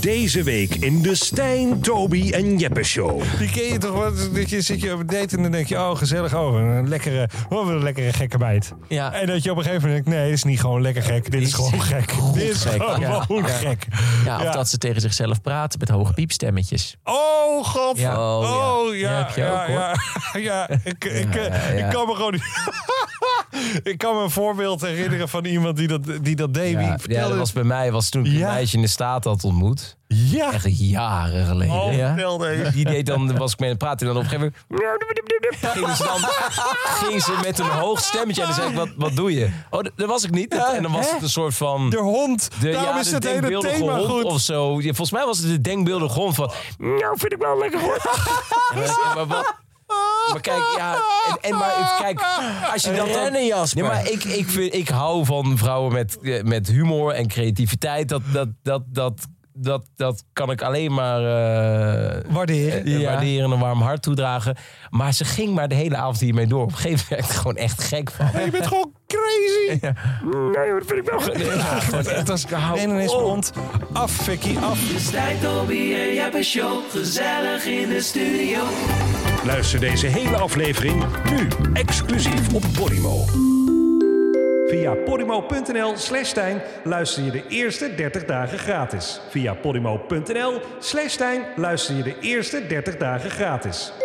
Deze week in de Stijn, Toby en Jeppe Show. Die ken je toch? Wat, dat je, zit je op een date en dan denk je, oh gezellig, oh een lekkere, oh, wat een lekkere gekke bijt. Ja. En dat je op een gegeven moment denkt, nee, dit is niet gewoon lekker gek, dit is gewoon gek. Dit is gek, gewoon ja. Ja. gek. Ja, of dat ze tegen zichzelf praten met hoge piepstemmetjes. Oh god, Ja. oh Oh, ja. ja, Ja, heb je ja, ook, hoor. ja, ja. Ik, ik, eh, ja. ik kan me gewoon niet- Ik kan me een voorbeeld herinneren van iemand die dat, die dat deed. Wie Ja, ja, vertelde- dat was bij mij was toen ik Ja. een meisje in de staat had ontmoet. Ja. Echt jaren geleden. Oh, Ja. vertelde hij. Die deed dan, was ik mee aan het praten en dan op een gegeven moment... ging ze, dan, ging ze met een hoog stemmetje en dan zei ik, wat, wat doe je? Oh, dat dat was ik niet. En dan was het een soort van... De hond. de- Daarom ja, is de het hele denkbeeldige thema hond goed. Of zo. Ja, volgens mij was het de denkbeeldige hond van... Nou, vind ik wel lekker hoor. En dan- ja, maar wat... Maar kijk, ja, en, en maar kijk, als je dat dan... Rennen, Jasper. Nee, maar ik, ik, vind, ik hou van vrouwen met, eh, met humor en creativiteit. Dat, dat, dat, dat, dat, dat kan ik alleen maar eh, Waarderen. eh, waarderen en een warm hart toedragen. Maar ze ging maar de hele avond hiermee door. Op een gegeven moment werd ik er gewoon echt gek van. Je bent gewoon crazy. Nee, dat vind ik wel gek. Ja, gewoon echt. Het was en dan is mijn hond af, Vicky, af. Stijn, Toby en Jeppe Show, gezellig in de studio. Luister deze hele aflevering nu exclusief op Podimo. Via podimo.nl slash Stijn luister je de eerste 30 dagen gratis. Via podimo.nl slash Stijn luister je de eerste 30 dagen gratis.